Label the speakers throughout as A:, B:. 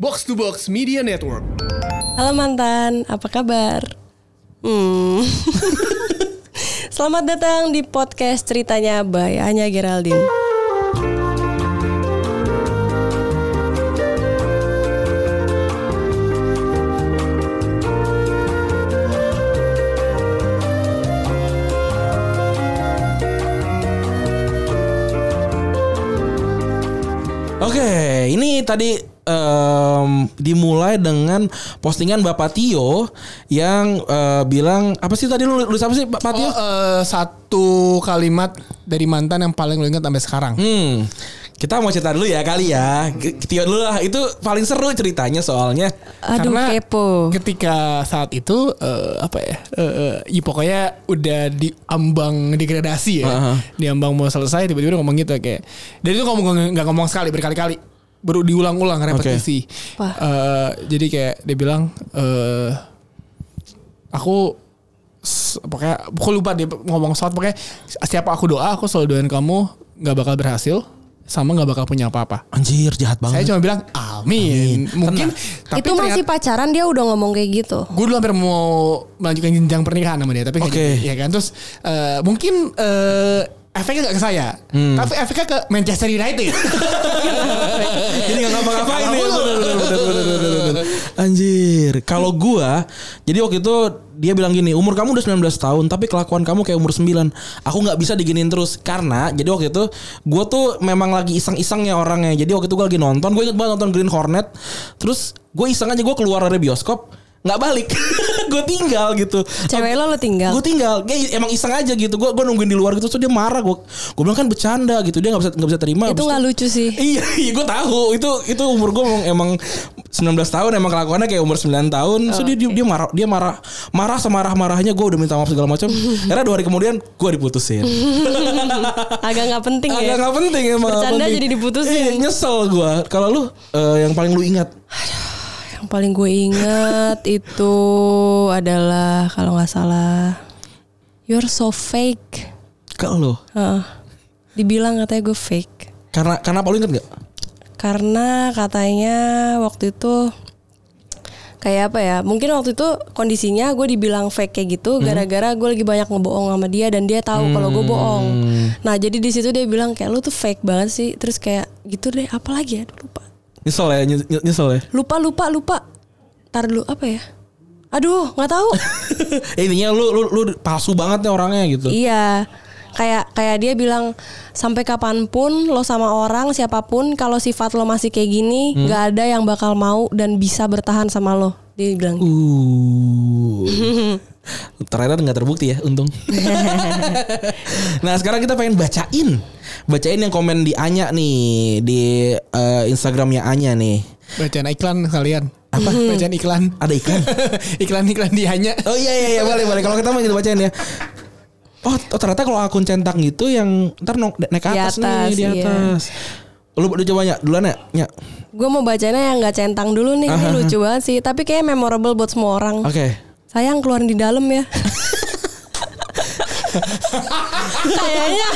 A: Box to Box Media Network.
B: Halo mantan, apa kabar? Hmm. Selamat datang di podcast ceritanya by Anya Geraldine.
C: Oke, ini tadi em, dimulai dengan postingan Bapak Tio yang eh, bilang apa sih tadi lu nulis apa sih Pak Pak
A: Oh,
C: Tio?
A: eh, satu kalimat dari mantan yang paling lo ingat sampai sekarang.
C: Hmm, kita mau cerita dulu ya kali ya. Ke- ke Tio dulu lah, itu paling seru ceritanya soalnya.
B: Aduh
A: Karena
B: kepo.
A: Ketika saat itu eh, apa ya? eh, eh, ya pokoknya udah diambang degradasi ya.
C: Aha.
A: Diambang mau selesai tiba-tiba dia ngomong gitu kayak. Dan itu ngomong nggak ngomong sekali berkali-kali. Baru diulang-ulang repetisi.
B: Wah.
A: Eh, jadi kayak dia bilang eh aku s- pokoknya aku lupa dia ngomong soal pokoknya siapa aku doa aku selalu doain kamu nggak bakal berhasil sama nggak bakal punya apa-apa.
C: Anjir, jahat
A: Saya cuma bilang amin. Mungkin tapi
B: Itu masih pacaran dia udah ngomong kayak gitu.
A: gue dulu hampir mau melanjutkan jenjang pernikahan sama dia tapi nggak
C: Oke.
A: jadi. ya kan terus eh, mungkin eh, efeknya gak ke saya
C: Hmm.
A: tapi efeknya ke Manchester United
C: Jadi nggak ngapa-ngapain
A: Nggak ngapa-ngapa.
C: ya. Eh. Bener, bener, bener, bener, bener, bener, bener. Anjir, kalau gua jadi waktu itu dia bilang gini, umur kamu udah 19 tahun tapi kelakuan kamu kayak umur 9. Aku nggak bisa diginiin terus karena jadi waktu itu gua tuh memang lagi iseng-isengnya orangnya. Jadi waktu itu gua lagi nonton, gua inget banget nonton Green Hornet. Terus gue iseng aja gua keluar dari bioskop nggak balik gue tinggal gitu
B: Cewek lo lo tinggal.
C: Gue tinggal, Kayak emang iseng aja gitu. Gue gue nungguin di luar gitu, terus dia marah. Gue gue bilang kan bercanda gitu, dia nggak bisa nggak bisa terima.
B: Itu
C: Abis
B: nggak lucu sih.
C: Iya, iya gue tahu. Itu itu umur gue emang, emang 19 tahun emang kelakuannya kayak umur 9 tahun. Terus dia, dia dia marah dia marah marah semarah-marahnya gue udah minta maaf segala macam. Karena dua hari kemudian gue diputusin.
B: Agak nggak penting ya.
C: Agak nggak penting emang. nggak
B: Bercanda
C: penting.
B: jadi diputusin.
C: Iya, nyesel gue. Kalau lu eh, yang paling lu ingat
B: Yang paling gue ingat itu adalah kalau nggak salah, you're so fake.
C: kalau lu
B: Heeh. dibilang katanya gue fake.
C: karena karena apa lu ingat gak?
B: karena katanya waktu itu kayak apa ya mungkin waktu itu kondisinya gue dibilang fake kayak gitu gara-gara gue lagi banyak ngebohong sama dia dan dia tahu kalau gue bohong nah jadi di situ dia bilang kayak lu tuh fake banget sih terus kayak gitu deh apalagi ya Aduh, lupa
C: Nyesel ya, nyes- nyesel ya.
B: lupa lupa lupa tar dulu apa ya aduh nggak tahu
C: Eh, Intinya lu, lu lu palsu banget ya orangnya gitu.
B: Iya. Kayak kayak dia bilang sampai kapanpun lo sama orang siapapun kalau sifat lo masih kayak gini
C: Hmm.
B: nggak ada yang bakal mau dan bisa bertahan sama lo. Dia
C: Hmm.
B: bilang.
C: Uh. Ternyata nggak terbukti ya, untung. nah sekarang kita pengen bacain, bacain yang komen di Anya nih di eh, Instagramnya Anya nih.
A: bacaan iklan kalian apa bacaan iklan
C: Ada iklan.
A: iklan iklan dia hanya
C: Oh iya iya, iya boleh boleh. Kalau kita mau kita bacain ya. Oh, oh, ternyata kalau akun centang gitu yang ntar no- naik ke
B: Di
C: atas,
B: atas,
C: nih di
B: iya.
C: atas. Lu, lu coba ya duluan ya. Nya.
B: Gue mau bacanya yang nggak centang dulu nih. Ini lucu banget sih. Tapi kayak memorable buat semua orang.
C: Oke.
B: Sayang keluar di dalam ya. Kayaknya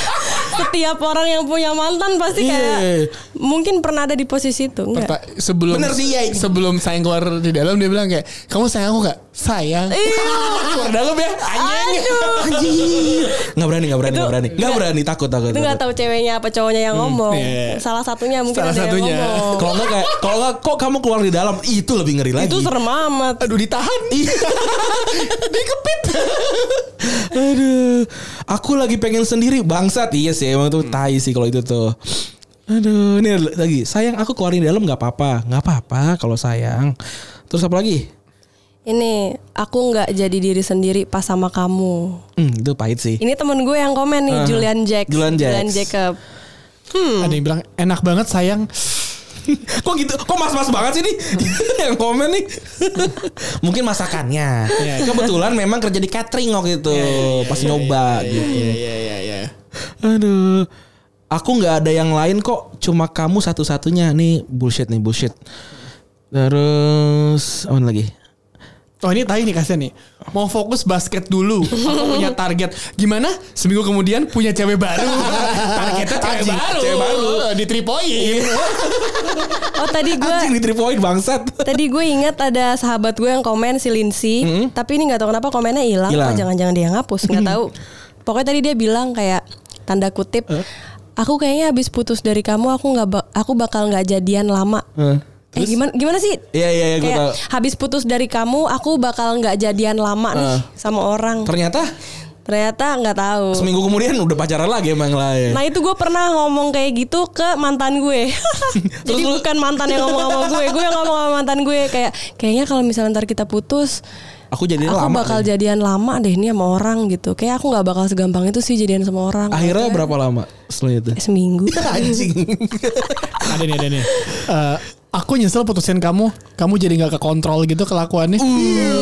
B: setiap orang yang punya mantan pasti kayak
C: Iya.
B: mungkin pernah ada di posisi itu. Enggak?
A: Perta- sebelum
C: Bener sih, iya.
A: sebelum saya keluar di dalam dia bilang kayak kamu sayang aku gak sayang
B: Iya.
A: keluar dalam ya anjing
C: Anjir. Nggak berani nggak berani nggak berani. Nggak berani takut takut.
B: Itu nggak
C: takut.
B: tahu ceweknya apa cowoknya
C: Hmm,
B: yang ngomong.
A: iya.
B: Salah satunya mungkin
A: Salah
B: ada
A: satunya.
B: yang ngomong.
C: Kalau nggak kayak kalau nggak kok kamu keluar di dalam itu lebih ngeri lagi. Iya.
B: Itu serem amat.
A: aduh ditahan
C: dikepit. Aduh, aku lagi pengen sendiri bangsat. Iya sih, emang tuh tai sih kalau itu tuh. Aduh, ini lagi. Sayang aku keluarin di dalam nggak apa-apa, nggak apa-apa kalau sayang. Terus apa lagi?
B: Ini aku nggak jadi diri sendiri pas sama kamu.
C: Hmm, itu pahit sih.
B: Ini temen gue yang komen nih,
C: Aha.
B: Julian Jack.
C: Julian Jax.
B: Jacob.
C: Hmm.
A: ada yang bilang enak banget sayang
C: Kok gitu? Kok mas-mas banget sih nih yang komen nih? Mungkin masakannya.
A: Iya.
C: Kebetulan memang kerja di catering waktu itu, pas nyoba gitu.
A: ya ya ya ya
C: Aduh. Aku nggak ada yang lain kok, cuma kamu satu-satunya. Nih bullshit nih bullshit. Terus apa lagi?
A: Oh ini tai nih kasihan nih. Mau fokus basket dulu. Aku punya target. Gimana? Seminggu kemudian punya cewek baru. Targetnya cewek
C: Anjing,
A: baru. Iya.
C: cewek baru.
A: Di three point.
B: Oh tadi gue
C: Anjing di 3 point bangsat.
B: Tadi gue ingat ada sahabat gue yang komen si Lindsay, tapi ini nggak tahu kenapa komennya hilang.
C: Mm-hmm. Hilang. Mm-hmm.
B: Apa jangan-jangan dia ngapus? Nggak tahu. Pokoknya tadi dia bilang kayak tanda kutip, aku kayaknya habis putus dari kamu, aku nggak ba- aku bakal nggak jadian lama.
C: Heeh.
B: Eh gimana gimana sih?
C: Iya iya iya gue
B: Kayak,
C: tahu.
B: habis putus dari kamu, aku bakal nggak jadian lama nih
C: Eh.
B: sama orang.
C: Ternyata
B: Ternyata nggak tahu.
C: seminggu kemudian udah pacaran lagi emang lain.
B: Nah itu gue pernah ngomong kayak gitu ke mantan gue. Jadi
C: lu-
B: bukan mantan yang ngomong sama gue, gue yang ngomong sama mantan gue kayak kayaknya kalau misalnya ntar kita putus,
C: Aku jadi
B: aku
C: lama.
B: bakal
C: deh.
B: jadian lama deh ini sama orang gitu. Kayak aku nggak bakal segampang itu sih jadian sama orang.
C: Akhirnya berapa lama setelah itu?
B: Eh, Seminggu.
C: Anjing.
A: ada nih ada nih. Eh, aku nyesel putusin kamu. Kamu jadi nggak kekontrol gitu kelakuannya.
B: Itu yang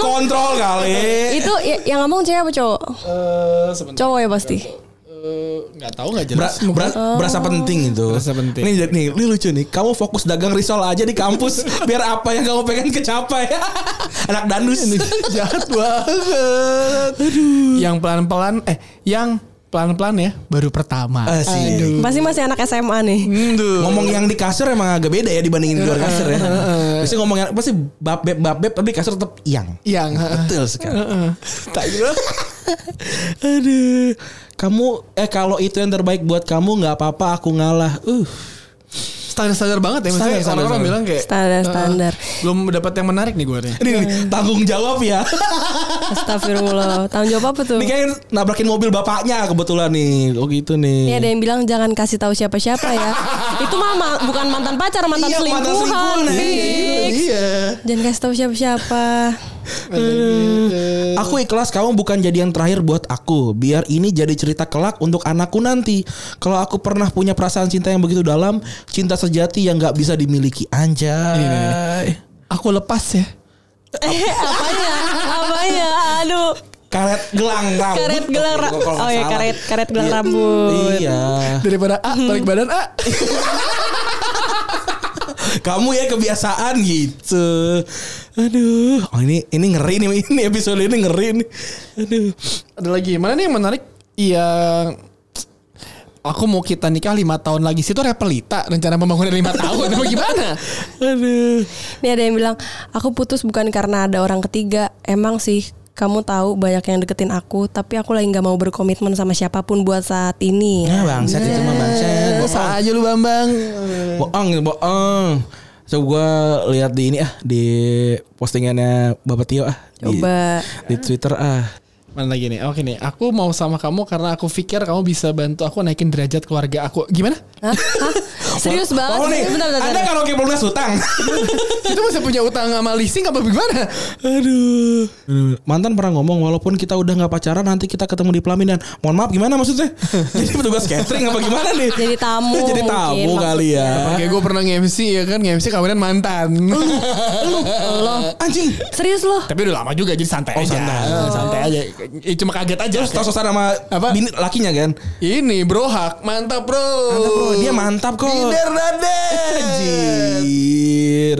C: Kau
B: ngomong-
C: kontrol kali.
B: itu ya- yang ngomong cewek apa cowok?
A: Eh, sebentar.
B: Cowok ya pasti.
A: Eh, Nggak tahu nggak
C: Bra-
A: jelas.
C: bra-
B: Oh.
C: berasa penting itu.
A: Berasa penting.
C: Nih, nih, ini lucu nih. Kamu fokus dagang risol aja di kampus biar apa yang kamu pengen kecapai. Anak dandus.
A: Jahat banget. Aduh. Yang pelan-pelan eh yang pelan-pelan ya baru pertama.
C: Asik.
A: Aduh.
B: Pasti masih anak SMA nih.
A: Aduh.
C: Ah, Ngomong yang di kasur emang agak beda ya dibandingin di luar kasur ya. Pasti ngomong yang pasti bab beb bab beb tapi di kasur tetap yang.
A: Yang
C: Betul sekali. Aduh. Kamu eh kalau itu yang terbaik buat kamu nggak apa-apa aku ngalah. Uh.
A: standar-standar banget ya maksudnya
C: Standar-standar
A: orang-orang
C: banget.
A: bilang kayak
B: Standar-standar.
A: "Eh, belum dapat yang menarik nih gue nih.
C: Ini nih, tanggung jawab ya.
B: Astagfirullah. Tanggung jawab apa tuh?
C: Ini kayaknya nabrakin mobil bapaknya kebetulan nih. Oh gitu nih.
B: Ini ada yang bilang jangan kasih tahu siapa-siapa ya. itu mah ma- bukan mantan pacar, mantan
C: Iya, mantan
B: selingkuhan.
C: selingkuhan,
B: Fix.
A: Iya.
B: Jangan kasih tahu siapa-siapa.
C: Eh, Aku ikhlas kamu bukan jadi yang terakhir buat aku. Biar ini jadi cerita kelak untuk anakku nanti. Kalau aku pernah punya perasaan cinta yang begitu dalam, cinta sejati yang nggak bisa dimiliki
A: Iya.
C: anjay.
A: Aku lepas ya.
B: eh, apanya? Apanya? Aduh,
C: Karet gelang rambut.
B: karet gelang ra-
C: Kalau nggak
B: Oh ya,
C: salah.
B: karet karet gelang
C: Iya.
B: rambut.
C: Iya.
A: Daripada A balik badan A.
C: Kamu ya kebiasaan gitu. Aduh, oh ini ini ngeri nih ini episode ini ngeri nih. Aduh.
A: Ada lagi mana nih yang menarik? Yang aku mau kita nikah lima tahun lagi sih itu repelita rencana pembangunan lima tahun apa gimana?
C: Aduh.
B: Ini ada yang bilang, aku putus bukan karena ada orang ketiga. Emang sih, kamu tahu banyak yang deketin aku, tapi aku lagi nggak mau berkomitmen sama siapapun buat saat ini.
C: Ya bangsat itu mah bangsat. Bohong.
A: Biasa Eh, aja lu Bambang.
C: Bohong, bohong. gitu, So gue lihat di ini ah di postingannya Bapak Tio ah. Di-
B: Coba.
C: Di, Twitter ah.
A: Mana lagi nih? Oke nih, aku mau sama kamu karena aku pikir kamu bisa bantu aku naikin derajat keluarga aku. Gimana?
B: Hah? Hah? Serius banget?
C: Oh nih,
B: Bentar, bentar,
C: Anda
B: bentar.
C: kalau kayak lunas hutang.
A: Kita masih punya utang sama leasing apa gimana?
C: Aduh. Mantan pernah ngomong walaupun kita udah nggak pacaran nanti kita ketemu di pelaminan. Mohon maaf gimana maksudnya? Jadi petugas catering apa gimana nih?
B: Jadi tamu
C: Jadi tamu
B: mungkin
C: kali ya.
A: Kayak gue pernah nge-MC ya kan, nge-MC kawinan mantan.
C: Anjing.
B: Serius loh?
A: Tapi udah lama juga jadi santai
C: Oh,
A: aja.
C: santai.
A: Eh, santai aja. Eh, cuma kaget aja.
C: Terus tahu suasana sama
A: Apa?
C: bini lakinya kan?
A: Ini bro hak, mantap bro.
C: Mantap, bro. Dia mantap kok.
A: Binder Raden.
C: Anjir.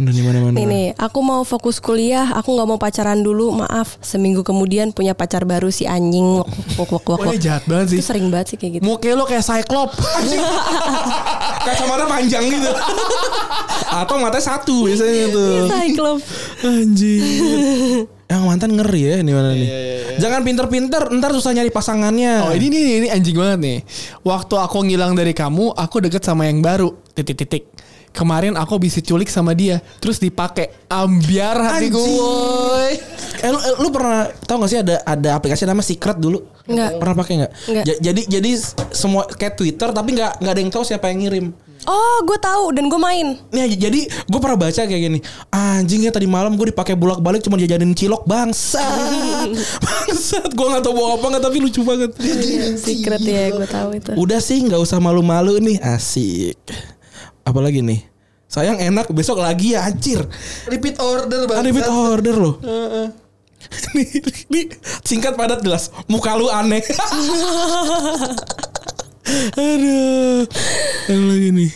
C: Aduh, di mana-mana.
B: Nih nih, aku mau fokus kuliah, aku nggak mau pacaran dulu, maaf. Seminggu kemudian punya pacar baru si anjing. Wak, wak, wak, wak,
A: Wah,
B: wak.
A: dia jahat banget sih.
B: Itu sering banget sih kayak gitu.
A: Muka lo kayak Cyclop.
C: kacamata panjang gitu atau matanya satu biasanya tuh
B: Iya, Cyclop.
C: anjir yang mantan ngeri ya ini mana nih jangan pinter-pinter ntar susah nyari
A: Iya,
C: pasangannya
A: Oh ini nih ini anjing banget nih. Waktu aku ngilang dari kamu, aku deket sama yang baru. Titik-titik. Kemarin aku bisa culik sama dia, terus dipakai ambiar hati
C: Anjing.
A: gue.
C: eh, lu, eh, lu pernah tau gak sih ada ada aplikasi namanya Secret dulu
B: Enggak.
C: pernah pakai nggak
B: Enggak.
C: Ja- jadi jadi semua kayak Twitter tapi nggak nggak ada yang tahu siapa yang ngirim
B: Oh, gue tahu dan gue main.
C: Nih jadi gue pernah baca kayak gini Anjing ya tadi malam gue dipakai bolak balik cuma jajanin cilok bangsa Bangsat gue gak tau mau apa nggak tapi lucu banget
B: Secret ya, gue tahu itu.
C: Udah sih nggak usah malu-malu nih asik. Apalagi nih? Sayang enak besok lagi ya anjir.
A: Repeat order
C: Ada
A: banget.
C: bit order loh. Nih, nih, singkat padat jelas. Muka lu aneh. Aduh. Yang lagi nih.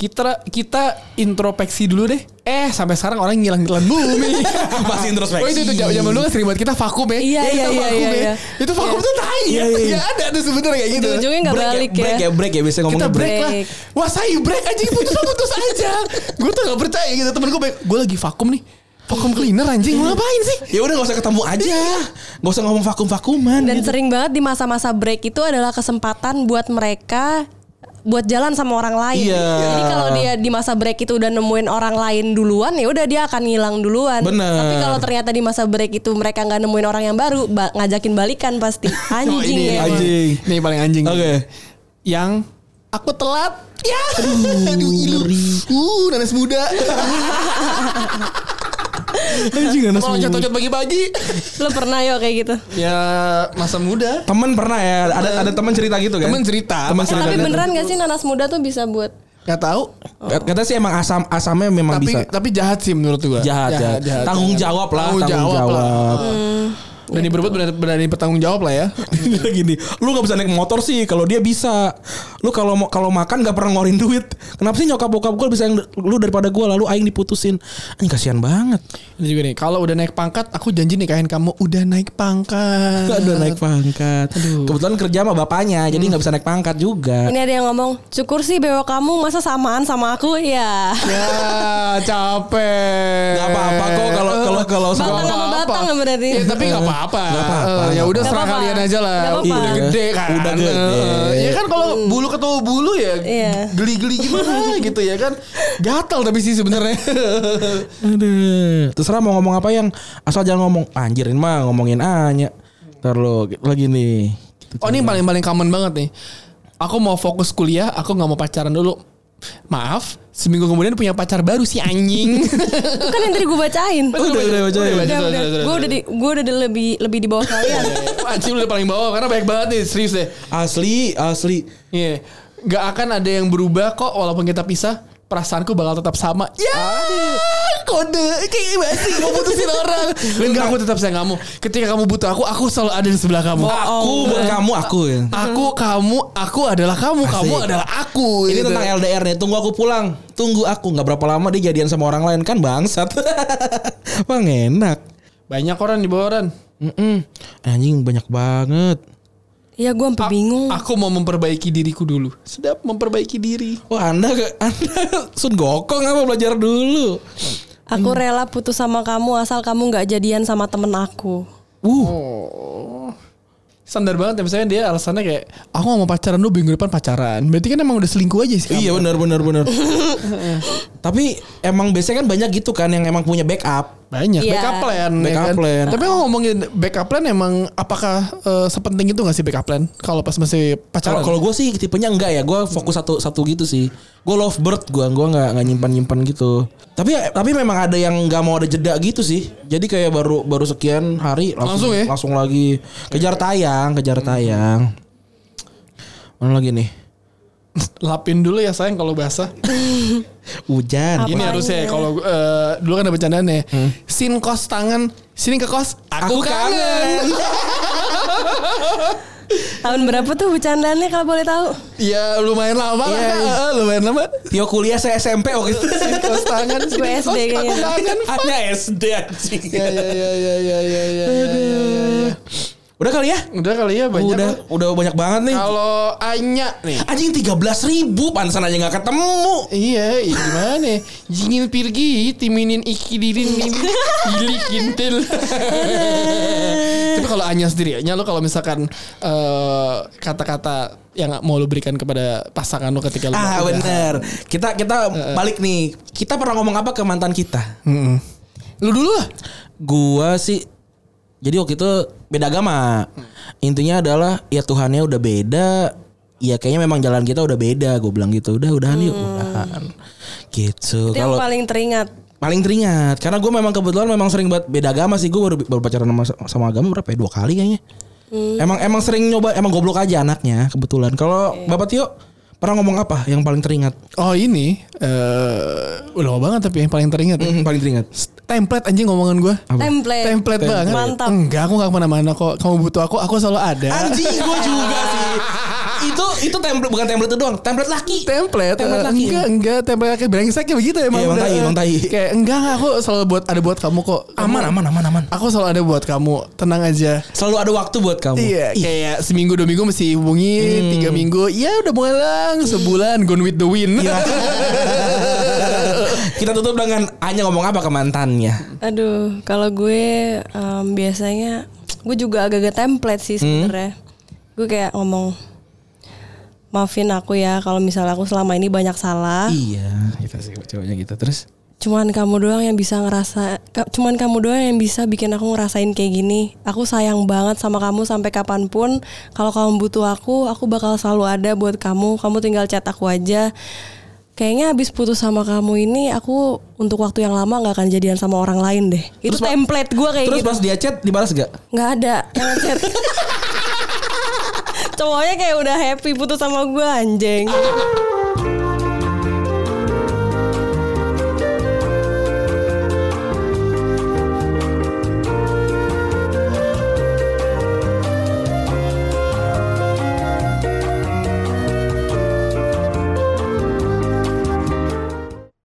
A: kita kita introspeksi dulu deh. Eh sampai sekarang orang ngilang ngilang bumi.
C: Masih introspeksi.
A: Oh itu itu zaman dulu kan sering banget kita vakum ya.
B: Iya,
A: Kita
B: iya, iya,
A: vakum
B: iya,
A: ya.
B: iya.
A: Itu vakum tuh tai.
C: Iya,
A: Iya,
C: iya, iya.
A: ada tuh sebenarnya kayak gitu.
B: Ujung-ujungnya nggak balik
C: break
B: ya.
C: ya break ya biasanya
A: kita
C: ngomongnya break.
A: break, lah.
B: break.
A: Wah saya break aja putus putus aja. gue tuh gak percaya gitu temen gue gue lagi vakum nih. Vakum cleaner anjing mau ngapain sih?
C: Ya udah gak usah ketemu aja. Gak usah ngomong vakum-vakuman.
B: Dan sering banget di masa-masa break itu adalah kesempatan buat mereka buat jalan sama orang lain.
C: Iya.
B: Jadi kalau dia di masa break itu udah nemuin orang lain duluan, ya udah dia akan ngilang duluan.
C: Bener.
B: Tapi kalau ternyata di masa break itu mereka nggak nemuin orang yang baru, ba- ngajakin balikan pasti anjing.
A: Oh, ini,
B: ya.
A: ini.
C: anjing.
A: Ini paling anjing.
C: Iya. Oke.
A: Yang aku telat. Ya. Aduh, ilu. Uh, nanas muda.
C: Anjing ganas
A: Mau
C: mulu.
A: loncat-loncat pagi-pagi.
B: Lo pernah yo kayak gitu?
A: ya, masa muda.
C: Temen pernah ya, ada ada teman cerita gitu kan?
A: Temen cerita.
C: Temen
A: Eh,
C: cerita.
B: Tapi
C: gitu.
B: beneran gak sih nanas muda tuh bisa buat
A: Gak tahu.
C: Kat- Kata sih emang asam asamnya memang
A: Tapi
C: bisa.
A: tapi jahat sih menurut gua.
C: Jahat, jahat. Tanggung jawab lah,
A: Tanggung
C: tanggung
A: jawab,
C: jawab.
A: lah. Dan yang berbuat benar berani bertanggung jawab lah ya.
C: gini, lu nggak bisa naik motor sih kalau dia bisa. Lu kalau mau kalau makan nggak pernah ngeluarin duit. Kenapa sih nyokap bokap gue bisa yang lu daripada gue lalu aing diputusin? Anjing kasihan banget.
A: Ini juga nih, kalau udah naik pangkat, aku janji nikahin kamu udah naik pangkat.
C: Gak udah naik pangkat. Kebetulan kerja sama bapaknya, jadi nggak bisa naik pangkat juga.
A: Eh.
B: ini ada yang ngomong, cukur sih bewok kamu masa samaan sama aku ya.
A: Ya, capek.
C: Gak apa-apa kok kalau kalau kalau
B: Batang
A: Gak
B: sama
A: apa-apa.
B: batang kan berarti.
A: Ya, tapi nggak apa-apa.
C: Nggak apa-apa.
A: Eh, ya udah
B: Nggak
A: serah
B: apa-apa.
A: kalian aja lah.
B: Nggak apa-apa.
A: Udah gede kan.
C: Udah gede.
A: Eh, ya kan kalau bulu ketemu bulu ya
B: Iya.
A: geli-geli gimana gitu ya kan. Gatal tapi sih sebenarnya.
C: Aduh. Terserah mau ngomong apa yang asal jangan ngomong anjirin mah ngomongin Anya. Ntar lo lagi nih.
A: oh ini yang paling-paling common banget nih. Aku mau fokus kuliah, aku nggak mau pacaran dulu. Maaf, seminggu kemudian punya pacar baru si anjing.
B: Itu kan yang tadi gue bacain.
A: Udah, udah, udah, udah, udah,
B: Udah,
A: udah,
B: udah.
A: udah,
B: Gue
A: udah.
B: udah di, gue udah di lebih lebih di bawah
A: Iya,
B: kalian.
A: Anjing udah paling bawah karena banyak banget nih serius deh.
C: Asli, asli.
A: Iya. Gak akan ada yang berubah kok walaupun kita pisah. Perasaanku bakal tetap sama. Ya, kode kayak masih mau putusin orang. Enggak, aku tetap sayang kamu. Ketika kamu butuh aku, aku selalu ada di sebelah kamu.
C: Aku
A: oh, eh.
C: buat kamu aku. ya.
A: Aku, kamu, aku adalah kamu, kamu
C: Asik.
A: adalah aku.
C: Ini
A: gitu.
C: tentang LDR nih. Tunggu aku pulang. Tunggu aku. Nggak berapa lama dia jadian sama orang lain kan bangsat. Bang enak.
A: banyak orang di bawah orang.
C: Mm-mm. Anjing banyak banget.
B: Iya gue sampai
A: A-
B: bingung.
A: Aku mau memperbaiki diriku dulu. Sedap memperbaiki diri.
C: Wah Oh, anda ke anda sun gokong apa belajar dulu.
B: Aku
A: hmm.
B: rela putus sama kamu asal kamu nggak jadian sama temen aku.
C: Uh,
A: Standar banget ya misalnya dia alasannya kayak aku gak mau pacaran dulu minggu depan pacaran. Berarti kan emang udah selingkuh aja sih. kamu.
C: iya benar benar benar. Tapi emang biasanya kan banyak gitu kan yang emang punya backup.
A: Banyak
B: Iya.
A: backup plan, ya
C: Backup
A: kan?
C: plan.
A: Tapi kalau ngomongin backup plan emang apakah eh, sepenting itu gak sih backup plan kalau pas masih pacaran?
C: Kalau kalau gue sih tipenya enggak ya, gue fokus satu satu gitu sih. Gue lovebird gue, gue nggak nggak nyimpan nyimpan gitu. Tapi tapi memang ada yang nggak mau ada jeda gitu sih. Jadi kayak baru baru sekian hari langsung
A: Langsung ya? Hmm.
C: langsung lagi kejar tayang, kejar tayang. Mana lagi nih?
A: lapin dulu ya sayang kalau basah.
C: Hujan.
A: Gini
B: Apanya?
C: ya.
A: harusnya kalau eh, dulu kan ada bercandaan ya.
C: Hmm.
A: Sin kos tangan, sini ke kos, aku, kangen.
B: Tahun berapa tuh bercandanya kalau boleh tahu?
A: Ya lumayan lama lah,
C: Iya,
A: Kak.
C: iya.
A: Eh, lumayan lama.
C: Tio kuliah saya SMP waktu itu.
A: Sin kos tangan, sini ke kos,
B: Gue SD
A: aku
B: kayaknya.
A: kangen.
C: Hanya SD anjing.
A: Ya Kan ya ya ya ya ya ya. ya, ya, ya.
C: Udah kali ya?
A: Udah kali ya banyak.
C: udah
A: lah.
C: udah banyak banget nih.
A: Kalau Anya nih.
C: Anjing 13.000 ribu pantesan aja nggak ketemu.
A: Iya, iya, gimana? Jingin pergi, timinin iki dirin ili kintil. Tapi kalau Anya sendiri, Anya lo kalau misalkan eh, kata-kata yang mau lo berikan kepada pasangan lo ketika lo
C: Ah
A: udah-
C: bener Kita kita balik nih Kita pernah ngomong apa ke mantan kita
A: Mm-mm. Lo dulu lah.
C: Gua sih Jadi waktu itu beda agama Intinya adalah Ya Tuhannya udah beda Ya kayaknya memang jalan kita udah beda Gue bilang gitu Udah udahan yuk Udahan Gitu
B: Itu yang
C: Kalau
B: paling teringat.
C: paling teringat Karena gue memang kebetulan Memang sering banget beda agama sih Gue baru, baru pacaran sama, sama agama berapa ya Dua kali kayaknya Emang emang sering nyoba Emang goblok aja anaknya Kebetulan Kalau Bapak Tio Pernah ngomong apa Yang paling teringat
A: Oh ini, eh udah lama banget tapi yang paling teringat. ya.
C: Mm, Paling teringat
A: St- template anjing ngomongan gue.
B: Template.
A: Template banget.
B: Mantap.
A: Enggak, aku nggak kemana-mana kok. Kamu butuh aku, aku selalu ada.
C: Anjing gue juga sih. Itu itu template bukan template itu doang, template laki.
A: template,
C: Template
A: eh,
C: laki.
A: enggak enggak template laki brengsek ya begitu emang
C: Iya, emang
A: udah.
C: tai, emang tai.
A: kayak enggak enggak aku selalu buat ada buat kamu kok Kamu-
C: Aman aman aman aman.
A: aku selalu ada buat kamu tenang aja
C: Selalu ada waktu buat kamu.
A: Iya,
C: Ih, Hmm.
A: kayak seminggu dua minggu mesti hubungi, tiga minggu, ya udah mulai lang, sebulan gone with the wind.
C: iya. Kita tutup dengan hanya ngomong apa ke mantannya.
B: Aduh, kalau gue em, biasanya gue juga agak-agak template sih
C: Hmm?
B: sebenarnya. Gue kayak ngomong maafin aku ya kalau misalnya aku selama ini banyak salah.
C: Iya, kita sih cowoknya gitu terus.
B: Cuman kamu doang yang bisa ngerasa ka- cuman kamu doang yang bisa bikin aku ngerasain kayak gini. Aku sayang banget sama kamu sampai kapanpun. Kalau kamu butuh aku, aku bakal selalu ada buat kamu. Kamu tinggal chat aku aja. Kayaknya abis putus sama kamu ini aku untuk waktu yang lama nggak akan jadian sama orang lain deh. Itu
C: Terus ma-
B: template gue kayak
C: Terus
B: gitu.
C: pas dia chat dibalas gak?
B: Nggak ada yang chat. Cowoknya kayak udah happy putus sama gue anjing.